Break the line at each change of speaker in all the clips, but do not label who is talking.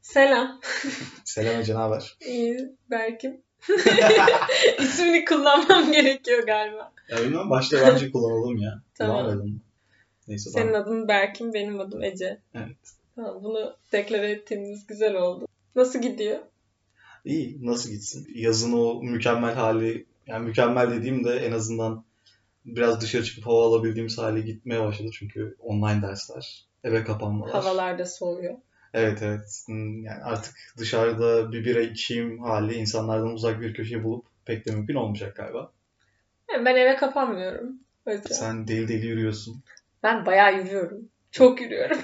Selam.
Selam Ece, ne haber?
İyi belki. İsmini kullanmam gerekiyor galiba.
Ya bilmiyorum, başta bence kullanalım ya.
Tamam.
Kullanmayalım. Neyse
Senin
tamam.
adın Berkin, benim adım Ece.
Evet.
Tamam, bunu deklare ettiğimiz güzel oldu. Nasıl gidiyor?
İyi, nasıl gitsin? Yazın o mükemmel hali, yani mükemmel dediğim de en azından biraz dışarı çıkıp hava alabildiğimiz hale gitmeye başladı. Çünkü online dersler, eve kapanmalar.
Havalar da soğuyor.
Evet evet. Hmm, Yani artık dışarıda bir bira içeyim hali insanlardan uzak bir köşe bulup pek de mümkün olmayacak galiba.
Yani ben eve kapanmıyorum. O yüzden.
Sen deli deli yürüyorsun.
Ben bayağı yürüyorum. Çok yürüyorum.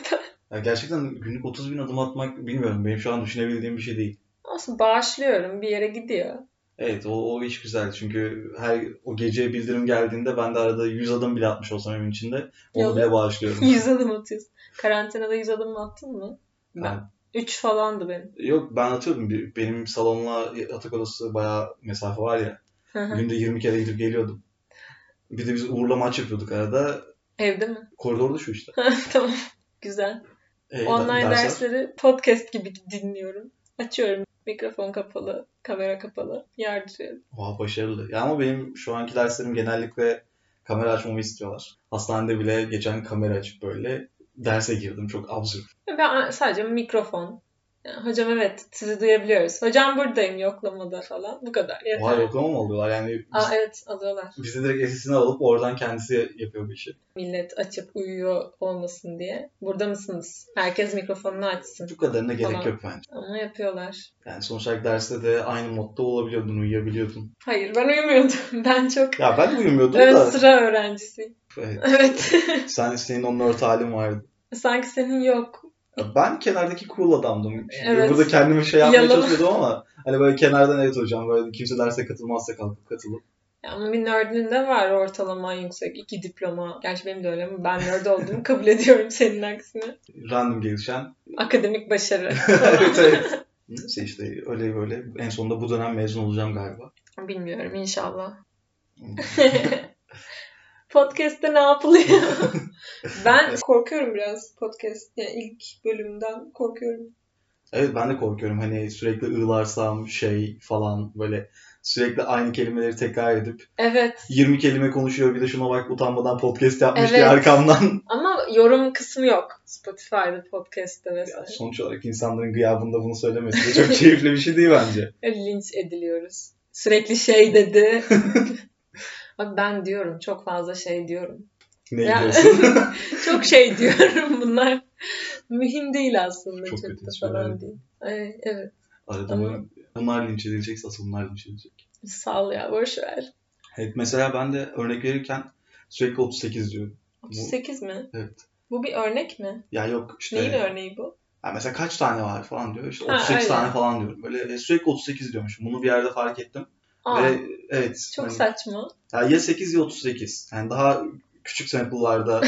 Ya gerçekten günlük 30 bin adım atmak bilmiyorum. Benim şu an düşünebildiğim bir şey değil.
Olsun bağışlıyorum. Bir yere gidiyor.
Evet o, o iş güzel çünkü her o gece bildirim geldiğinde ben de arada 100 adım bile atmış olsam evin içinde onu
Yalan.
bile bağışlıyorum.
Yüz adım atıyorsun. Karantinada yüz adım mı attın mı?
Yani,
Üç falandı benim.
yok ben atıyordum. Bir- Benim salonla yatak odası bayağı mesafe var ya.
Hı hı.
Günde 20 kere gidip geliyordum. Bir de biz uğurla maç yapıyorduk arada.
Evde mi?
Koridorda şu işte.
tamam. Güzel.
Ee,
Online
dersler.
dersleri podcast gibi dinliyorum. Açıyorum. Mikrofon kapalı, kamera kapalı. Yardırıyorum.
Oha başarılı. Ya ama benim şu anki derslerim genellikle kamera açmamı istiyorlar. Hastanede bile geçen kamera açıp böyle derse girdim. Çok absürt.
Ben sadece mikrofon. Yani, hocam evet sizi duyabiliyoruz. Hocam buradayım yoklamada falan. Bu kadar. Yeter.
Oha yoklama mı oluyorlar? Yani
Aa, evet alıyorlar.
Bizi direkt esisine alıp oradan kendisi yapıyor bu işi.
Millet açıp uyuyor olmasın diye. Burada mısınız? Herkes mikrofonunu açsın.
Bu kadarına gerek
Tamam.
yok bence.
Ama yapıyorlar.
Yani sonuç olarak derste de aynı modda olabiliyordun, uyuyabiliyordun.
Hayır ben uyumuyordum. Ben çok
Ya ben de uyumuyordum
ön
da.
sıra öğrencisiyim.
Evet.
Evet.
Sen, senin onun örtü halin vardı.
Sanki senin yok.
Ya Ben kenardaki cool adamdım. Şimdi
Evet.
Burada kendime şey yapmaya
Yalan.
çalışıyordum ama hani böyle kenardan evet hocam böyle kimse derse katılmazsa kalkıp katılıp.
Ya Ama bir nerdin de var ortalaman yüksek. iki diploma. Gerçi benim de öyle ama ben nerd olduğumu kabul ediyorum senin aksine.
Random gelişen.
Akademik başarı.
evet evet. Neyse işte öyle böyle. En sonunda bu dönem mezun olacağım galiba.
Bilmiyorum inşallah. Podcast'te ne yapılıyor? ben korkuyorum biraz podcast. Yani ilk bölümden korkuyorum.
Evet ben de korkuyorum hani sürekli ığlarsam şey falan böyle sürekli aynı kelimeleri tekrar edip
Evet
20 kelime konuşuyor bir de şuna bak utanmadan podcast yapmış diye
Evet.
arkamdan.
ama yorum kısmı yok. Spotify'da podcast'te
Ya
mesela.
sonuç olarak insanların gıyabında bunu söylemesi de çok keyifli bir şey değil bence.
Linç ediliyoruz. Sürekli şey dedi. Bak ben diyorum çok fazla şey diyorum.
Ne
Ya-
diyorsun?
Çok şey diyorum bunlar. Mühim değil aslında.
Çok
Çok,
kötü
da
espriler.
falan değil. Ay, evet.
Arada
Ama-
bunu- bunlar linç edilecekse asıl bunlar linç edilecek.
Sal ya boş ver.
Evet mesela ben de örnek verirken sürekli 38 diyorum.
38 mi?
Evet.
Bu bir örnek mi?
Ya yok işte.
Neyin örneği bu?
Ya mesela kaç tane var falan diyor. İşte
Ha,
38
öyle.
tane falan diyorum. Böyle e, sürekli 38 diyormuşum. Bunu bir yerde fark ettim.
Aa,
Ve evet.
çok
hani-
saçma.
Ya, ya 8 ya 38. Yani daha küçük sample'larda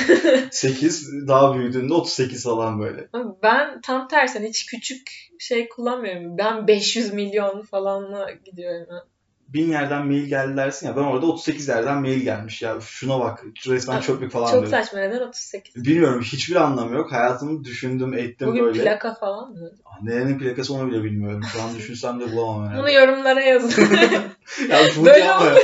8, daha büyüdüğünde 38 falan böyle.
Ama Ben tam tersen hiç küçük şey kullanmıyorum. Ben 500 milyon falanla gidiyorum. ben.
Bin yerden mail geldi dersin ya ben orada 38 yerden mail gelmiş ya şuna bak resmen
Abi,
çöplük falan
Çok
diyorum.
saçma. Neden 38?
Bilmiyorum hiçbir anlamı yok. Hayatımı düşündüm ettim
Bugün
böyle. Ah,
plaka falan mı?
Nerenin plakası onu bile bilmiyorum. Şu an düşünsem de bulamam
Bunu
herhalde.
yorumlara yazın.
ya bunu
Böyle
yapma ya.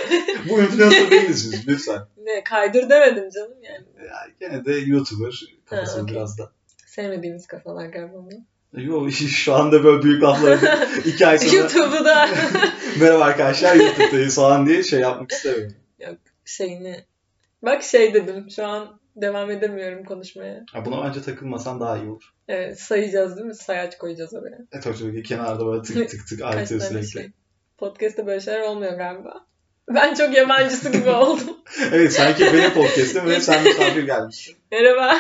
Bu influencer değiliz biz lütfen.
ne, kaydır demedim canım yani.
Ya, gene de YouTuber kafası
Ha, okey.
biraz da.
Sevmediğimiz kafalar galiba bunlar.
Yo şu anda böyle büyük laflar iki ay sonra
YouTube'u da
merhaba arkadaşlar YouTube'dayız falan diye şey yapmak istemiyorum.
şeyini. Bak şey dedim şu an devam edemiyorum konuşmaya.
Ya buna bence takılmasan daha iyi olur.
Evet, sayacağız değil mi? Sayaç koyacağız oraya.
E tabii tabii ki kenarda böyle tık tık tık
Kaç
artıyor
tane
sürekli.
şey. Podcast'te böyle şeyler olmuyor galiba. Ben çok yabancısı gibi oldum.
Evet sanki benim podcast'im ve sen misafir gelmişsin.
Merhaba.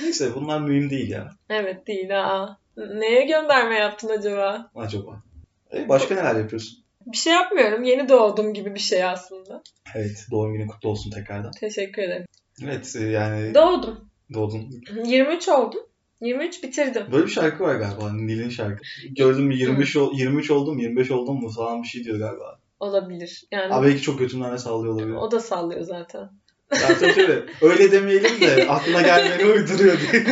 Neyse bunlar mühim değil ya
Evet değil aa. Neye gönderme yaptın acaba?
acaba. E, başka neler yapıyorsun?
Bir şey yapmıyorum. Yeni doğdum gibi bir şey aslında.
Evet doğum günün kutlu olsun tekrardan.
Teşekkür ederim.
Evet e, yani
Doğdum.
doğdun.
23 oldum. 23 bitirdim.
Böyle bir şarkı var galiba Nil'in şarkı. Gördün mü 23, ol- 23 oldum 25 oldum mu falan bir şey diyor galiba.
Olabilir. Yani
Abi belki çok götümden de sallıyor olabilir.
o da sallıyor zaten.
Ya tabii tabii. Öyle demeyelim de aklına gelmeni uyduruyor diye.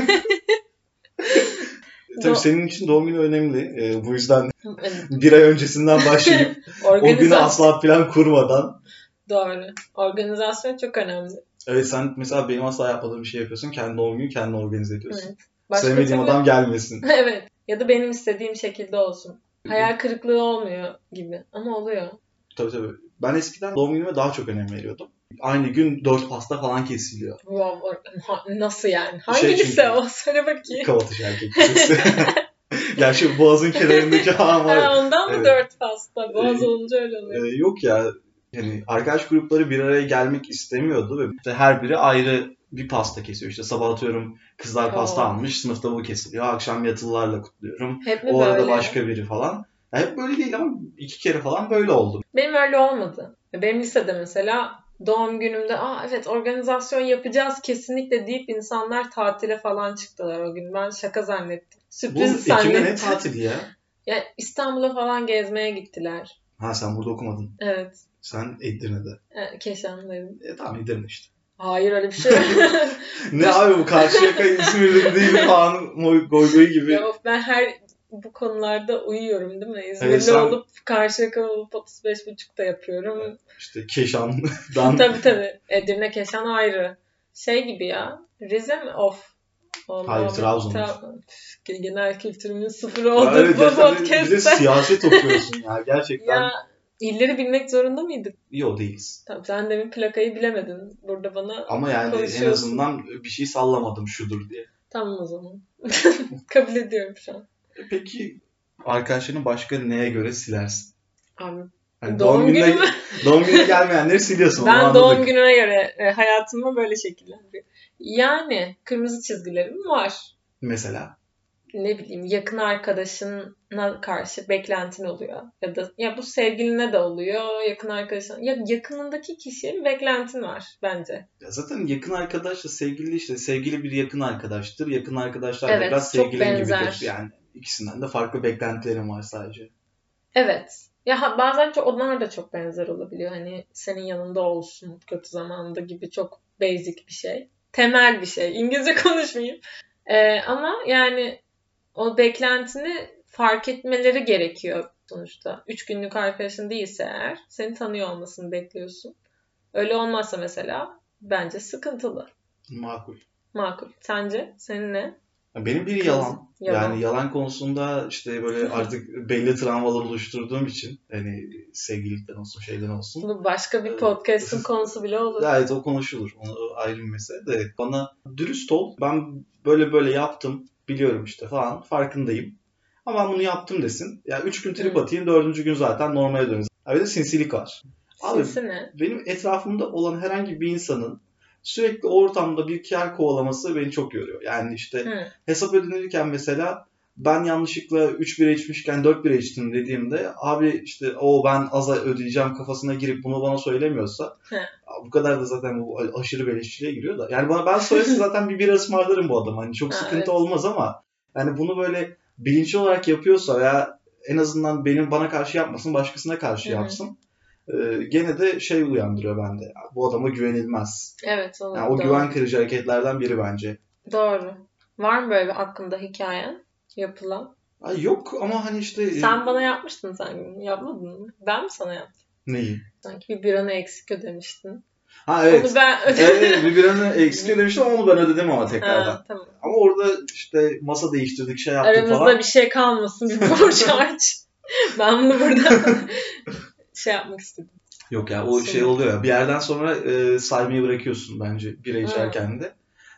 Tabii
Do-
senin için doğum günü önemli. Ee, bu yüzden
Evet.
bir ay öncesinden başlayıp o günü
Organizasyon.
asla plan kurmadan.
Doğru. Organizasyon çok önemli.
Evet sen mesela benim asla yapmadığım bir şey yapıyorsun. Kendi doğum günü kendin organize ediyorsun.
Evet. Başka
Sevmediğim
türlü-
adam gelmesin.
evet. Ya da benim istediğim şekilde olsun. Hayal kırıklığı olmuyor gibi. Ama oluyor.
Tabii tabii. Ben eskiden doğum günüme daha çok önem veriyordum. Aynı gün dört pasta falan kesiliyor.
Wow, or- ha- nasıl yani?
Şey
Hangi lise
çünkü-
o? Söyle bakayım.
Kavatış erkek lisesi. Gerçi boğazın kenarındaki ağam var.
Ha, ondan mı
Evet.
dört pasta? Boğaz
Ee,
olunca öyle oluyor.
Ee, yok ya. Yani arkadaş grupları bir araya gelmek istemiyordu ve işte her biri ayrı bir pasta kesiyor. İşte sabah atıyorum kızlar pasta
Oo.
almış, sınıfta bu kesiliyor. Akşam yatılılarla kutluyorum.
Hep mi
O
böyle?
arada başka biri falan. Ya hep böyle değil ama iki kere falan böyle oldu.
Benim öyle olmadı. Benim lisede mesela doğum günümde Aa, evet organizasyon yapacağız kesinlikle deyip insanlar tatile falan çıktılar o gün. Ben şaka zannettim.
Bu
Sürpriz
Ekim'de ne
zannettim.
tatili ya?
Ya İstanbul'a falan gezmeye gittiler.
Ha sen burada okumadın.
Evet.
Sen Edirne'de.
E, Keşan'dayım.
E tamam Edirne işte.
Hayır öyle bir şey yok.
Ne abi bu Karşıyaka İzmir'de değil Kaan Moy- Goygoy gibi.
Ya of, ben her bu konularda uyuyorum değil mi? İzmirli
Evet, sen-
olup karşıyaka olup 35.30'da yapıyorum.
İşte Keşan'dan.
tabii tabii. Edirne Keşan ayrı. Şey gibi ya. Rize mi? Of. Olma
Hayır,
abi.
Trabzon'dur.
Tra- Üf, Genel kültürümün sıfır
Ya
oldu
evet,
bu
gerçekten bir de
podcast'ta.
siyaset okuyorsun ya. Gerçekten
Ya illeri bilmek zorunda mıydık?
iyi o değiliz.
Tamam sen demin plakayı bilemedin. Burada bana
Ama yani en
Konuşuyorsun.
azından bir şey sallamadım şudur diye.
tamam o zaman. Kabul ediyorum şu an.
E Peki arkadaşlarını başka neye göre silersin?
Abi,
Hani
doğum,
doğum,
günü
gününe,
mü?
doğum gününe gelmeyenleri siliyorsun. onu
Ben
anladık.
doğum gününe göre e, hayatımı böyle şekillendiriyorum. Yani kırmızı çizgilerim var.
Mesela.
Ne bileyim yakın arkadaşına karşı beklentin oluyor. Ya da ya bu sevgiline de oluyor. Yakın arkadaşın. Ya yakınındaki kişinin beklentin var bence.
Ya zaten yakın arkadaşla sevgili işte sevgili bir yakın arkadaştır. Yakın arkadaşlar da
Evet,
biraz
çok
sevgilin
benzer.
gibidir. Yani ikisinden de farklı beklentilerim var sadece.
Evet. Ya ha- bazen çok, onlar da çok benzer olabiliyor. Hani senin yanında olsun kötü zamanda gibi çok basic bir şey. Temel bir şey. İngilizce konuşmayayım. Ee, ama yani o beklentini fark etmeleri gerekiyor sonuçta. Üç günlük arkadaşın değilse eğer seni tanıyor olmasını bekliyorsun. Öyle olmazsa mesela bence sıkıntılı.
Makul.
Makul. Sence? Senin ne?
Ya Benim biri yalan.
Yalan.
Yani yalan konusunda işte böyle artık belli travmalar oluşturduğum için hani sevgililikten olsun şeyden olsun.
Bu başka bir podcast'ın konusu bile olur.
Gayet o konuşulur. Onu ayrı bir mesele de. Bana dürüst ol. Ben böyle böyle yaptım. Biliyorum işte falan. Farkındayım. Ama ben bunu yaptım desin. Ya üç gün trip
Hı.
atayım. Dördüncü gün zaten normale döneriz. Ha bir de sinsilik var. Abi
Sinsi ne?
benim etrafımda olan herhangi bir insanın sürekli o ortamda bir kar kovalaması beni çok yoruyor. Yani işte
Hı.
hesap ödenirken mesela ben yanlışlıkla 3 bira içmişken 4 bira içtim dediğimde abi işte o ben aza ödeyeceğim kafasına girip bunu bana söylemiyorsa
Hı.
bu kadar da zaten bu a- aşırı beleşçiliğe giriyor da. Yani bana ben söylese zaten bir bira ısmarlarım bu adam. Hani çok
Ha,
sıkıntı
evet.
olmaz ama yani bunu böyle bilinçli olarak yapıyorsa veya en azından benim bana karşı yapmasın başkasına karşı
Hı hı.
yapsın. Ee, gene de şey uyandırıyor bende. Ya Bu adama güvenilmez.
Evet olur.
Yani o
doğru.
güven kırıcı hareketlerden biri bence.
Doğru. Var mı böyle bir hakkında hikayen? Yapılan.
Ay yok ama hani işte e,
Sen bana yapmıştın sanki. Yapmadın mı? Ben mi sana yaptım?
neyi?
Sanki bir biranı eksik ödemiştin.
Ha evet.
Onu ben
evet bir biranı eksik ödemiştim ama onu ben ödedim ama tekrardan.
Ha, tamam.
Ama orada işte masa değiştirdik şey yaptık
Aramızda
falan.
bir şey kalmasın. Bir borç harç. ben bunu burada şey yapmak istedim.
Yok ya o şey oluyor ya bir yerden sonra e, saymayı bırakıyorsun bence bira içerken de.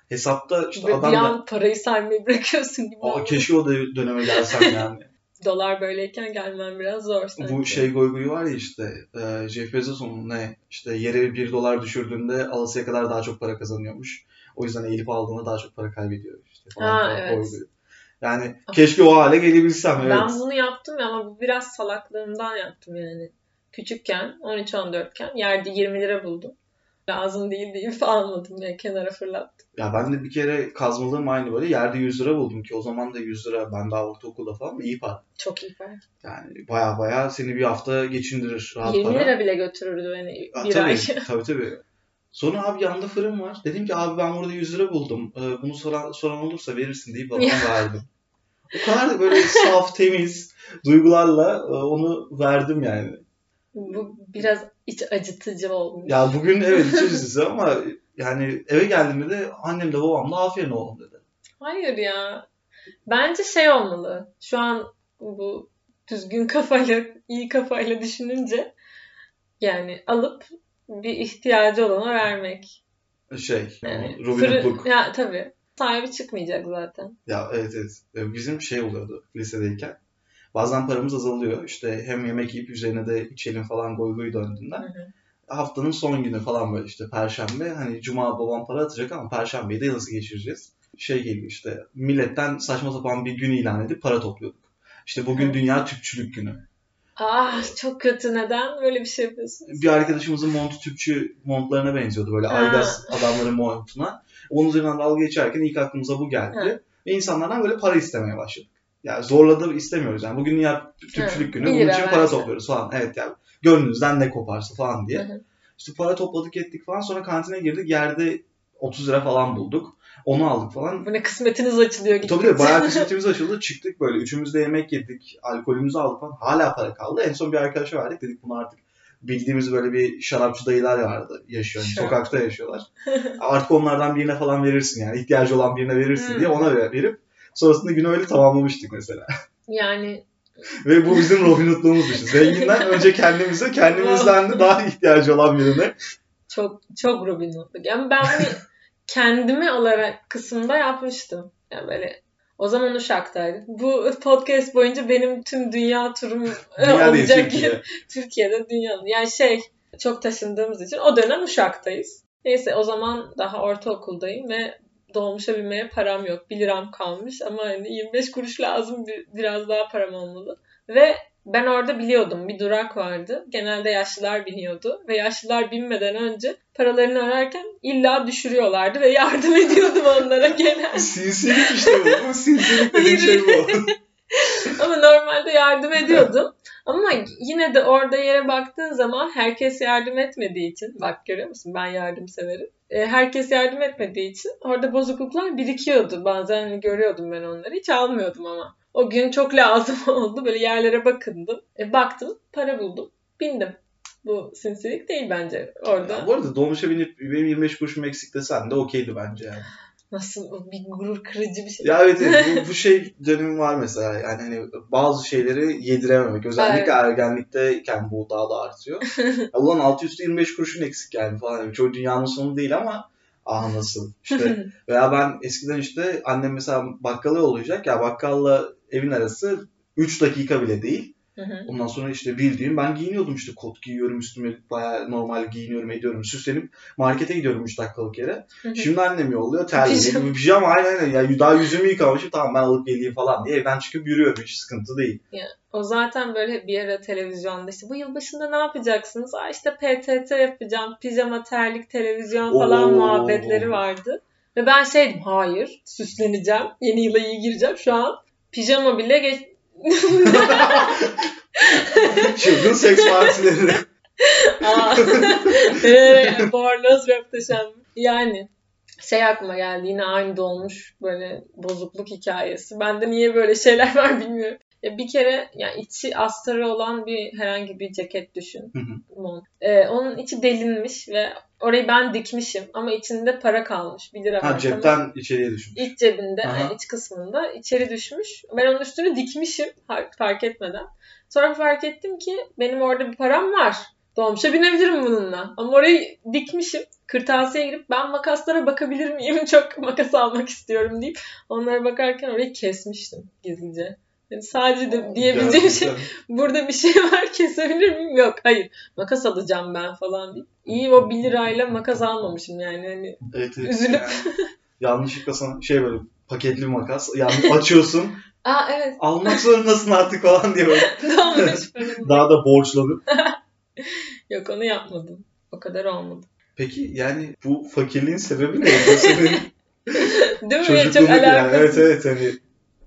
Hesapta işte
bir,
adam
bir
da
an parayı saymayı bırakıyorsun gibi.
Aa,
oldu.
keşke o dö- döneme gelsem yani.
Dolar böyleyken gelmen biraz zor sanki.
Bu şey goygoyu var ya işte e, Jeff Bezos'un ne işte yere 1 dolar düşürdüğünde alasıya kadar daha çok para kazanıyormuş. O yüzden eğilip aldığında daha çok para kaybediyor işte falan
Ha,
falan
evet.
goygoyu. Yani
Ah.
keşke o hale gelebilsem evet.
Ben bunu yaptım ya ama bu biraz salaklığımdan yaptım yani. Küçükken 13-14'ken yerde 20 lira buldum. Lazım değil deyip almadım ya kenara fırlattım.
Ya ben de bir kere kazmalığım aynı böyle yerde 100 lira buldum ki o zaman da 100 lira ben daha ortaokulda falan iyi para.
Çok iyi para.
Yani baya baya seni bir hafta geçindirir rahat
20
para.
lira bile götürürdü hani
Ha,
bir
tabii,
ay.
tabii tabii. Sonra abi yanında fırın var. Dedim ki abi ben burada 100 lira buldum. Ee, bunu soran, soran olursa verirsin deyip bana verdim. O kadar da böyle saf, temiz duygularla e, onu verdim yani.
Bu biraz iç acıtıcı olmuş.
Ya bugün evet içerisiz ama yani eve geldiğimde de annemle babamla aferin oğlum dedi.
Hayır ya. Bence şey olmalı. Şu an bu düzgün kafayla, iyi kafayla düşününce yani alıp bir ihtiyacı olana vermek.
Şey,
Yani
Robin
fırı-
Hood'luk.
Ya tabii. Sahibi çıkmayacak zaten.
Ya evet evet. E, Bizim şey oluyordu lisedeyken. Bazen paramız azalıyor. İşte hem yemek yiyip üzerine de içelim falan goy goy döndüğünden.
Hı hı.
Haftanın son günü falan böyle işte perşembe. Hani cuma babam para atacak ama perşembeyi de nasıl geçireceğiz? Şey geliyor işte milletten saçma sapan bir gün ilan edip para topluyorduk. İşte bugün
Hı.
Dünya Tüpçülük Günü.
Ah çok kötü. Neden böyle bir şey yapıyorsunuz?
Bir arkadaşımızın montu tüpçü montlarına benziyordu. Böyle
Ha.
aygaz adamların montuna. Onun üzerinden dalga geçerken ilk aklımıza bu geldi.
Ha.
Ve insanlardan böyle para istemeye başladık. Yani zorla da istemiyoruz. Yani bugün Dünya Tüpçülük
Ha,
Günü.
bir
Bunun
lira
için para
versin.
topluyoruz falan. Evet yani gönlünüzden ne koparsa falan diye.
Hı hı.
İşte para topladık ettik falan. Sonra kantine girdik. Yerde 30 lira falan bulduk. Onu aldık falan.
Bu ne kısmetiniz açılıyor
E
gittikçe.
Tabii de bayağı kısmetimiz açıldı. Çıktık böyle. Üçümüz de yemek yedik. Alkolümüzü aldık falan. Hala para kaldı. En son bir arkadaşa verdik. Dedik bunu artık bildiğimiz böyle bir şarapçı dayılar vardı. Yaşıyor. Yani
Şarap.
sokakta yaşıyorlar. artık onlardan birine falan verirsin yani. ihtiyacı olan birine verirsin
Hmm.
diye ona ver- verip sonrasında günü öyle tamamlamıştık mesela.
Yani
Ve bu bizim Robin Hood'luğumuz işte. Zenginden şey. önce kendimize, kendimizden de daha ihtiyacı olan birine
çok çok Robin Hood'luk. Yani ben bunu kendimi olarak kısımda yapmıştım. Yani böyle o zaman Uşak'taydım. Bu podcast boyunca benim tüm dünya turum e,
dünya değil
olacak.
Türkiye.
Türkiye'de dünyanın. Yani şey çok taşındığımız için o dönem Uşak'tayız. Neyse o zaman daha ortaokuldayım ve dolmuşa binmeye param yok. 1 liram kalmış ama hani 25 kuruş lazım bir- biraz daha param olmalı. Ve ben orada biliyordum bir durak vardı. Genelde yaşlılar biniyordu ve yaşlılar binmeden önce paralarını ararken illa düşürüyorlardı ve yardım ediyordum onlara genelde.
Sinsilik işte bu. Bu sinsilik dediğim şey bu.
Ama normalde yardım ediyordum. Ama yine de orada yere baktığın zaman herkes yardım etmediği için bak görüyor musun ben yardım severim. E, herkes yardım etmediği için orada bozukluklar birikiyordu. Bazen hani görüyordum ben onları. Hiç almıyordum ama. O gün çok lazım oldu. Böyle yerlere bakındım. E, baktım para buldum. Bindim. Bu sinsilik değil bence orada.
Ya bu arada dolmuşa binip benim 25 kuruşum eksik desen de okeydi bence yani.
Nasıl bu bir gurur kırıcı bir şey.
Ya evet, evet bu, bu şey dönemi var mesela yani hani bazı şeyleri yedirememek. Özellikle ergenlikteyken bu daha da artıyor. Ya ulan 625 kuruşun eksik yani falan. Yani Çoğu dünyanın sonu değil ama ah nasıl işte. Veya ben eskiden işte annem mesela bakkala olacak ya bakkalla evin arası 3 dakika bile değil.
Hı hı.
Ondan sonra işte bildiğim ben giyiniyordum işte kot giyiyorum üstüme bayağı normal giyiniyorum ediyorum süslenip markete gidiyorum 3 dakikalık yere.
Hı hı.
Şimdi annem yolluyor terli
Pijama.
pijama, pijama aynen aynen ya daha yüzümü yıkamışım tamam ben alıp geleyim falan diye evden çıkıp yürüyorum hiç sıkıntı değil.
O zaten böyle bir ara televizyonda işte bu yılbaşında ne yapacaksınız? Aa işte PTT yapacağım, pijama, terlik, televizyon falan
Oo.
muhabbetleri vardı. Ve ben şeydim hayır süsleneceğim, yeni yıla iyi gireceğim. Şu an pijama bile geç...
Çılgın seks partileri.
Aa. Ee, Bornoz röpteşen. Yani şey aklıma geldi yine aynı dolmuş böyle bozukluk hikayesi. Bende niye böyle şeyler var bilmiyorum. Ya bir kere yani içi astarı olan bir herhangi bir ceket düşün.
Hı hı.
mont. Ee, onun içi delinmiş ve orayı ben dikmişim ama içinde para kalmış. 1 lira var.
ha
tamam mı?
cepten içeriye düşmüş.
İç cebinde,
Aha.
yani iç kısmında içeri düşmüş. Ben onun üstünü dikmişim har- fark etmeden. Sonra fark ettim ki benim orada bir param var. Dolmuşa binebilirim bununla. Ama orayı dikmişim. Kırtasiye girip ben makaslara bakabilir miyim? Çok makas almak istiyorum deyip onlara bakarken orayı kesmiştim gizlice. Yani sadece de diyebileceğim şey
Gerçekten.
burada bir şey var kesebilir miyim? Yok hayır makas alacağım ben falan deyip. İyi o 1 lirayla makas almamışım yani. Hani,
Evet, evet,
Üzülüp.
yani yanlışlıkla sana şey böyle paketli makas yani açıyorsun
Aa evet
almak zorundasın artık falan diye böyle
dolmuş param.
daha da borçlanıp
Yok onu yapmadım. O kadar olmadı.
Peki yani bu fakirliğin sebebi ne? Bu senin
Değil mi?
çocukluğundaki
Çok
yani. Evet
alakasız.
evet hani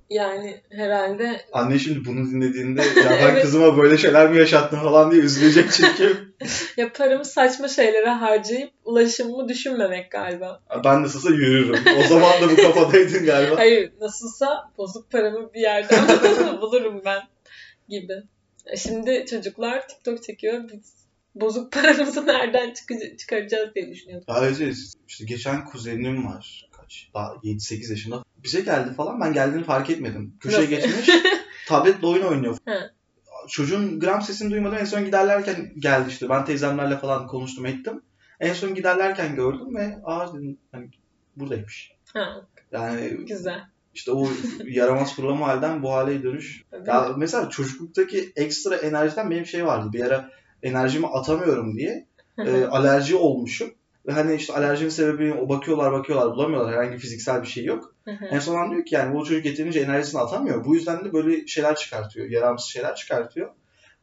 Yani herhalde
Anne şimdi bunu dinlediğinde ya ben
Evet.
kızıma böyle şeyler mi yaşattım falan diye üzülecek çünkü.
ya paramı saçma şeylere harcayıp ulaşımımı düşünmemek galiba.
ben nasılsa yürürüm. O zaman da bu kafadaydın galiba.
Hayır nasılsa bozuk paramı bir yerden bulurum ben gibi. E Şimdi çocuklar TikTok çekiyor. Biz bozuk paramızı nereden çıkı- çıkaracağız diye düşünüyorduk.
Ayrıca işte geçen kuzenim var. Kaç? Daha 7-8 yaşında. Bize geldi falan. Ben geldiğini fark etmedim. Köşeye
Nasıl?
geçmiş. tabletle oyun oynuyor.
He.
Çocuğun gram sesini duymadan en son giderlerken geldi işte. Ben teyzemlerle falan konuştum ettim. En son giderlerken gördüm ve aa dedim hani buradaymış.
Ha,
Yani
güzel.
işte o yaramaz fırlama halden bu hale dönüş. Ya mesela çocukluktaki ekstra enerjiden benim şey vardı. Bir ara enerjimi atamıyorum diye e, alerji olmuşum. Ve hani işte alerjinin sebebini o bakıyorlar bakıyorlar bulamıyorlar. Herhangi fiziksel bir şey yok. En son an diyor ki yani bu çocuk yeterince enerjisini atamıyor. Bu yüzden de böyle şeyler çıkartıyor. Yaramsız şeyler çıkartıyor.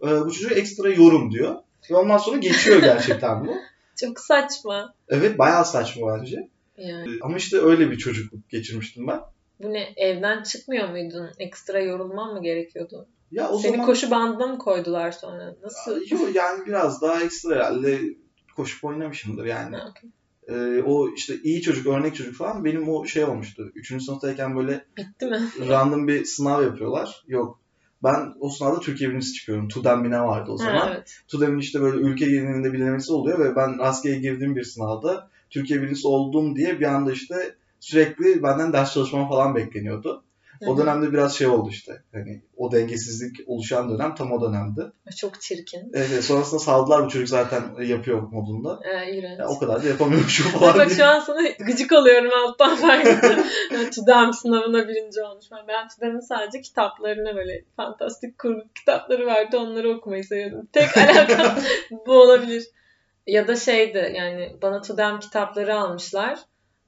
E, bu çocuğa ekstra yorum diyor. Ve ondan sonra geçiyor gerçekten bu.
Çok saçma.
Evet bayağı saçma bence. E,
Yani
Ama işte öyle bir çocukluk geçirmiştim ben.
bu ne evden çıkmıyor muydun? Ekstra yorulman mı gerekiyordu?
Ya o
Seni
zaman...
koşu bandına mı koydular sonra? Nasıl?
Yok yani biraz daha ekstra herhalde koşup oynamışımdır yani.
Ha, okey.
Ee, o işte iyi çocuk, örnek çocuk falan benim o şey olmuştu. Üçüncü sınıftayken böyle
Bitti mi?
random bir sınav yapıyorlar. Yok. Ben o sınavda Türkiye birincisi çıkıyorum. TUDEM bine vardı o zaman.
Ha, evet.
TUDEM'in işte böyle ülke genelinde bilinmesi oluyor ve ben rastgele girdiğim bir sınavda Türkiye birincisi oldum diye bir anda işte sürekli benden ders çalışmam falan bekleniyordu. O
Hı hı.
dönemde biraz şey oldu işte. Hani o dengesizlik oluşan dönem tam o dönemdi.
Çok çirkin.
Evet, evet. sonrasında saldılar bu çocuk zaten yapıyor modunda.
Ee, iğrenç.
Ya, o kadar da yapamıyormuş o
Bak
falan
şu an sana gıcık oluyorum alttan farkında. ben TÜDEM sınavına birinci olmuşum. Ben TÜDEM'in sadece kitaplarını böyle fantastik kurgu kitapları vardı. Onları okumayı seviyordum. Tek alakam bu olabilir. Ya da şeydi yani bana TÜDEM kitapları almışlar.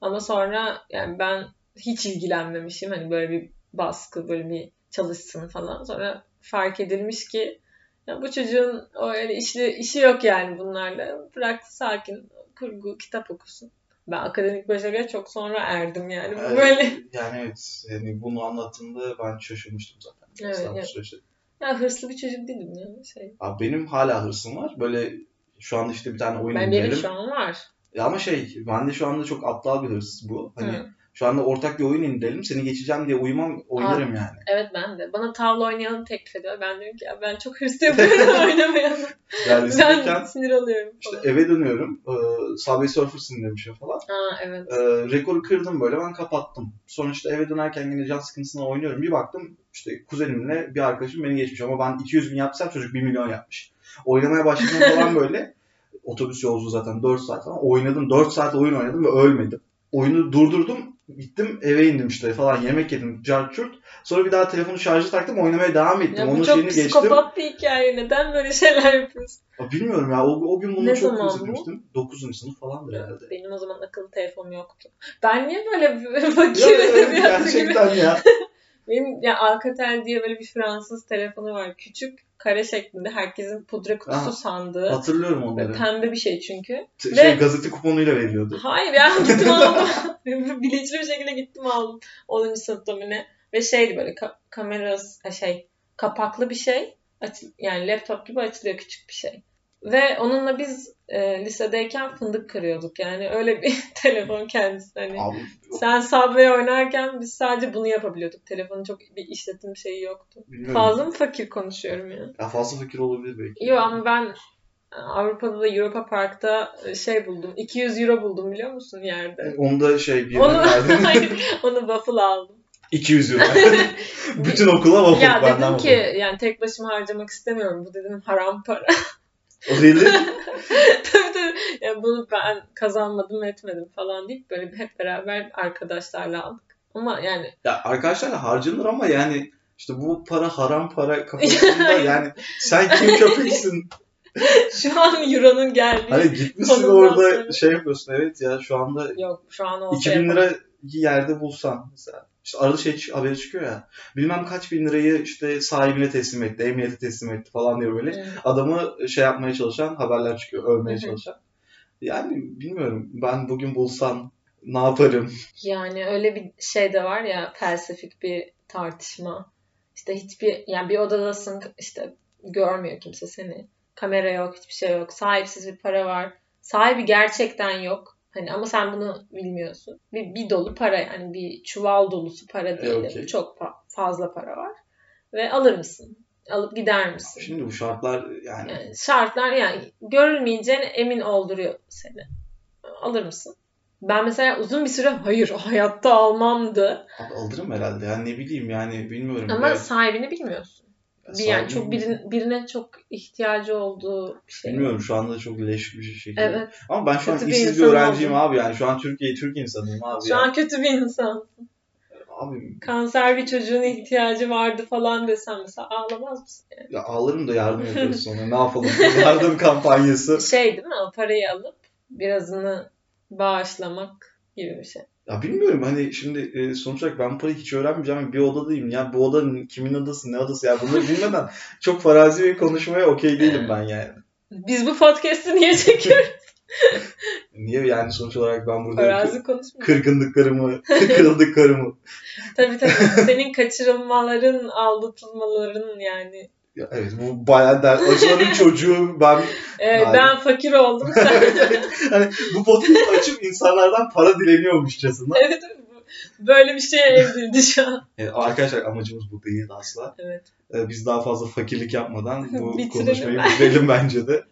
Ama sonra yani ben hiç ilgilenmemişim. Hani böyle bir baskı, böyle bir çalışsın falan. Sonra fark edilmiş ki ya bu çocuğun o öyle işli, işi yok yani bunlarla. Bırak sakin kurgu kitap okusun. Ben akademik başarıya çok sonra erdim yani. Bu
Evet.
Böyle
diye. Yani evet. Yani bunu anlattığımda ben şaşırmıştım zaten.
Evet,
Sınav
evet.
süreçte.
ya hırslı bir çocuk değilim ya. Şey.
Abi benim hala hırsım var. Böyle şu anda işte bir tane oyun
Ben benim
indirelim.
şu an var.
Ya ama şey bende şu anda çok aptal bir hırs bu. Hani
Hı.
şu anda ortak bir oyun indirelim. Seni geçeceğim diye uyumam oynarım yani.
Evet ben de. Bana tavla oynayalım teklif ediyor. Ben diyorum ki ya ben çok hırslı yapıyorum oynamayalım.
Yani
ben
isterken
sinir alıyorum
işte
falan.
eve dönüyorum. Ee, Subway Surfers dinlemişim falan.
Aa evet.
Ee, rekoru kırdım böyle ben kapattım. Sonra işte eve dönerken yine can sıkıntısına oynuyorum. Bir baktım işte kuzenimle bir arkadaşım beni geçmiş ama ben 200 bin yapsam çocuk 1 milyon yapmış. Oynamaya başladım falan böyle. Otobüs yolculuğu zaten 4 saat falan. Oynadım 4 saat oyun oynadım ve ölmedim. Oyunu durdurdum. Gittim eve indim işte falan yemek yedim cart çurt. Sonra bir daha telefonu şarjı taktım oynamaya devam ettim.
Ya
Onun
bu çok
şeyini geçtim.
psikopat bir hikaye. Neden böyle şeyler yapıyorsun?
Aa, Bilmiyorum ya o, o gün bunu
Ne
çok
zaman bu?
üzülmüştüm. 9. sınıf falandır herhalde.
Benim o zaman akıllı telefonum yoktu. Ben niye böyle
Ya,
bakayım edebiyatı gibi?
gerçekten ya.
Benim ya Alcatel diye böyle bir Fransız telefonu var. Küçük, kare şeklinde. Herkesin pudra kutusu
Aha.
sandığı.
Hatırlıyorum
Böyle
onları.
pembe bir şey çünkü.
T-
Ve-
şey gazete kuponuyla veriliyordu.
Hayır ya gittim aldım. Bilinçli bir şekilde gittim aldım. 10. sınıfta mı ne? Ve şeydi böyle ka- kamerası ha şey kapaklı bir şey. Aç- yani laptop gibi açılıyor küçük bir şey. Ve onunla biz e, lisedeyken fındık kırıyorduk. Yani öyle bir telefon kendisi. Hani
Abi
sen Subway oynarken biz sadece bunu yapabiliyorduk. Telefonun çok bir işletim şeyi yoktu.
bilmiyorum.
Fazla mı fakir konuşuyorum ya?
Ya fazla fakir olabilir belki.
Yok ama ben e, Avrupa'da da Europa Park'ta şey buldum. 200 euro buldum biliyor musun yerde?
Onu da şey bir
Onu,
yere verdim.
hayır, onu waffle aldım.
200 euro. Bütün okula waffle
ya
benden
dedim
waffle.
ki yani tek başıma harcamak istemiyorum. Bu dedim haram para.
O değil de
tabii tabii. Ya bunu ben kazanmadım etmedim falan deyip böyle hep beraber arkadaşlarla aldık. Ama yani
ya arkadaşlarla harcanır ama yani işte bu para haram para kafasında yani sen kim köpeksin?
şu an euronun geldiği
Hani gitmişsin
Konumdan
orada
sonra.
şey yapıyorsun evet ya şu anda
yok şu an olsa
2000
yaparım.
lira yerde bulsan mesela. İşte arada şey çık- haberi çıkıyor ya. Bilmem kaç bin lirayı işte sahibine teslim etti, emniyete teslim etti falan diye böyle.
Hı.
adamı şey yapmaya çalışan haberler çıkıyor. Övmeye
Hı hı.
çalışan. Yani bilmiyorum. Ben bugün bulsam ne yaparım?
Yani öyle bir şey de var ya felsefik bir tartışma. İşte hiçbir yani bir odadasın işte görmüyor kimse seni. Kamera yok, hiçbir şey yok. Sahipsiz bir para var. Sahibi gerçekten yok. Hani ama sen bunu bilmiyorsun. Bir, bir dolu para yani bir çuval dolusu para değil. de
E, okey.
Çok fa- fazla para var. Ve alır mısın? Alıp gider misin?
Şimdi bu şartlar yani
Yani şartlar yani görülmeyeceğine emin olduruyor seni. Alır mısın? Ben mesela uzun bir süre hayır hayatta almamdı.
Abi alırım herhalde. Yani ne bileyim yani bilmiyorum.
Ama
Evet,
sahibini bilmiyorsun. Bir yani
sahibi-
çok birin- birine çok ihtiyacı olduğu bir şey.
Bilmiyorum şu anda çok leş bir şekilde.
Evet.
Ama ben şu an
Kötü bir
işsiz bir
insan
öğrenciyim
oldum.
abi yani. Şu an Türkiye Türk insanıyım abi.
Şu
yani.
an kötü bir insan.
Abi
Kanser bir çocuğun ihtiyacı vardı falan desem mesela ağlamaz mısın?
ya ağlarım da yardım ediyoruz sonra. Ne yapalım? Yardım kampanyası.
Şey değil mi? O parayı alıp birazını bağışlamak gibi bir şey.
Ya bilmiyorum hani şimdi e, sonuç olarak ben parayı hiç öğrenmeyeceğim. Bir odadayım. Ya bu oda kimin odası ne odası ya bunları bilmeden çok farazi bir konuşmaya okey değilim ben yani.
Biz bu podcast'i niye çekiyoruz?
Niye yani sonuç olarak ben burada
Arazi konuşmuyoruz.
kırgınlıklarımı, kırıldıklarımı
Tabii tabii. Senin kaçırılmaların, aldatılmaların yani.
Ya evet bu bayağı der. Acıların çocuğu ben
Ee,
Abi.
ben fakir oldum. Sen...
hani bu podcast açıp insanlardan para dileniyormuşçasına.
Evet, Böyle bir şeye evrildi şu an.
Evet, arkadaşlar amacımız bu değil asla.
Evet.
Ee, biz daha fazla fakirlik yapmadan bu
Bitirelim
konuşmayı
ben.
bitirelim bence de.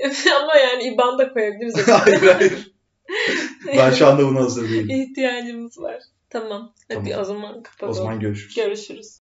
Ama yani IBAN da koyabiliriz.
hayır hayır. Ben şu anda buna hazır değilim.
İhtiyacımız var. Tamam. Hadi
Tamam.
o zaman kapatalım.
O zaman görüşürüz.
Görüşürüz.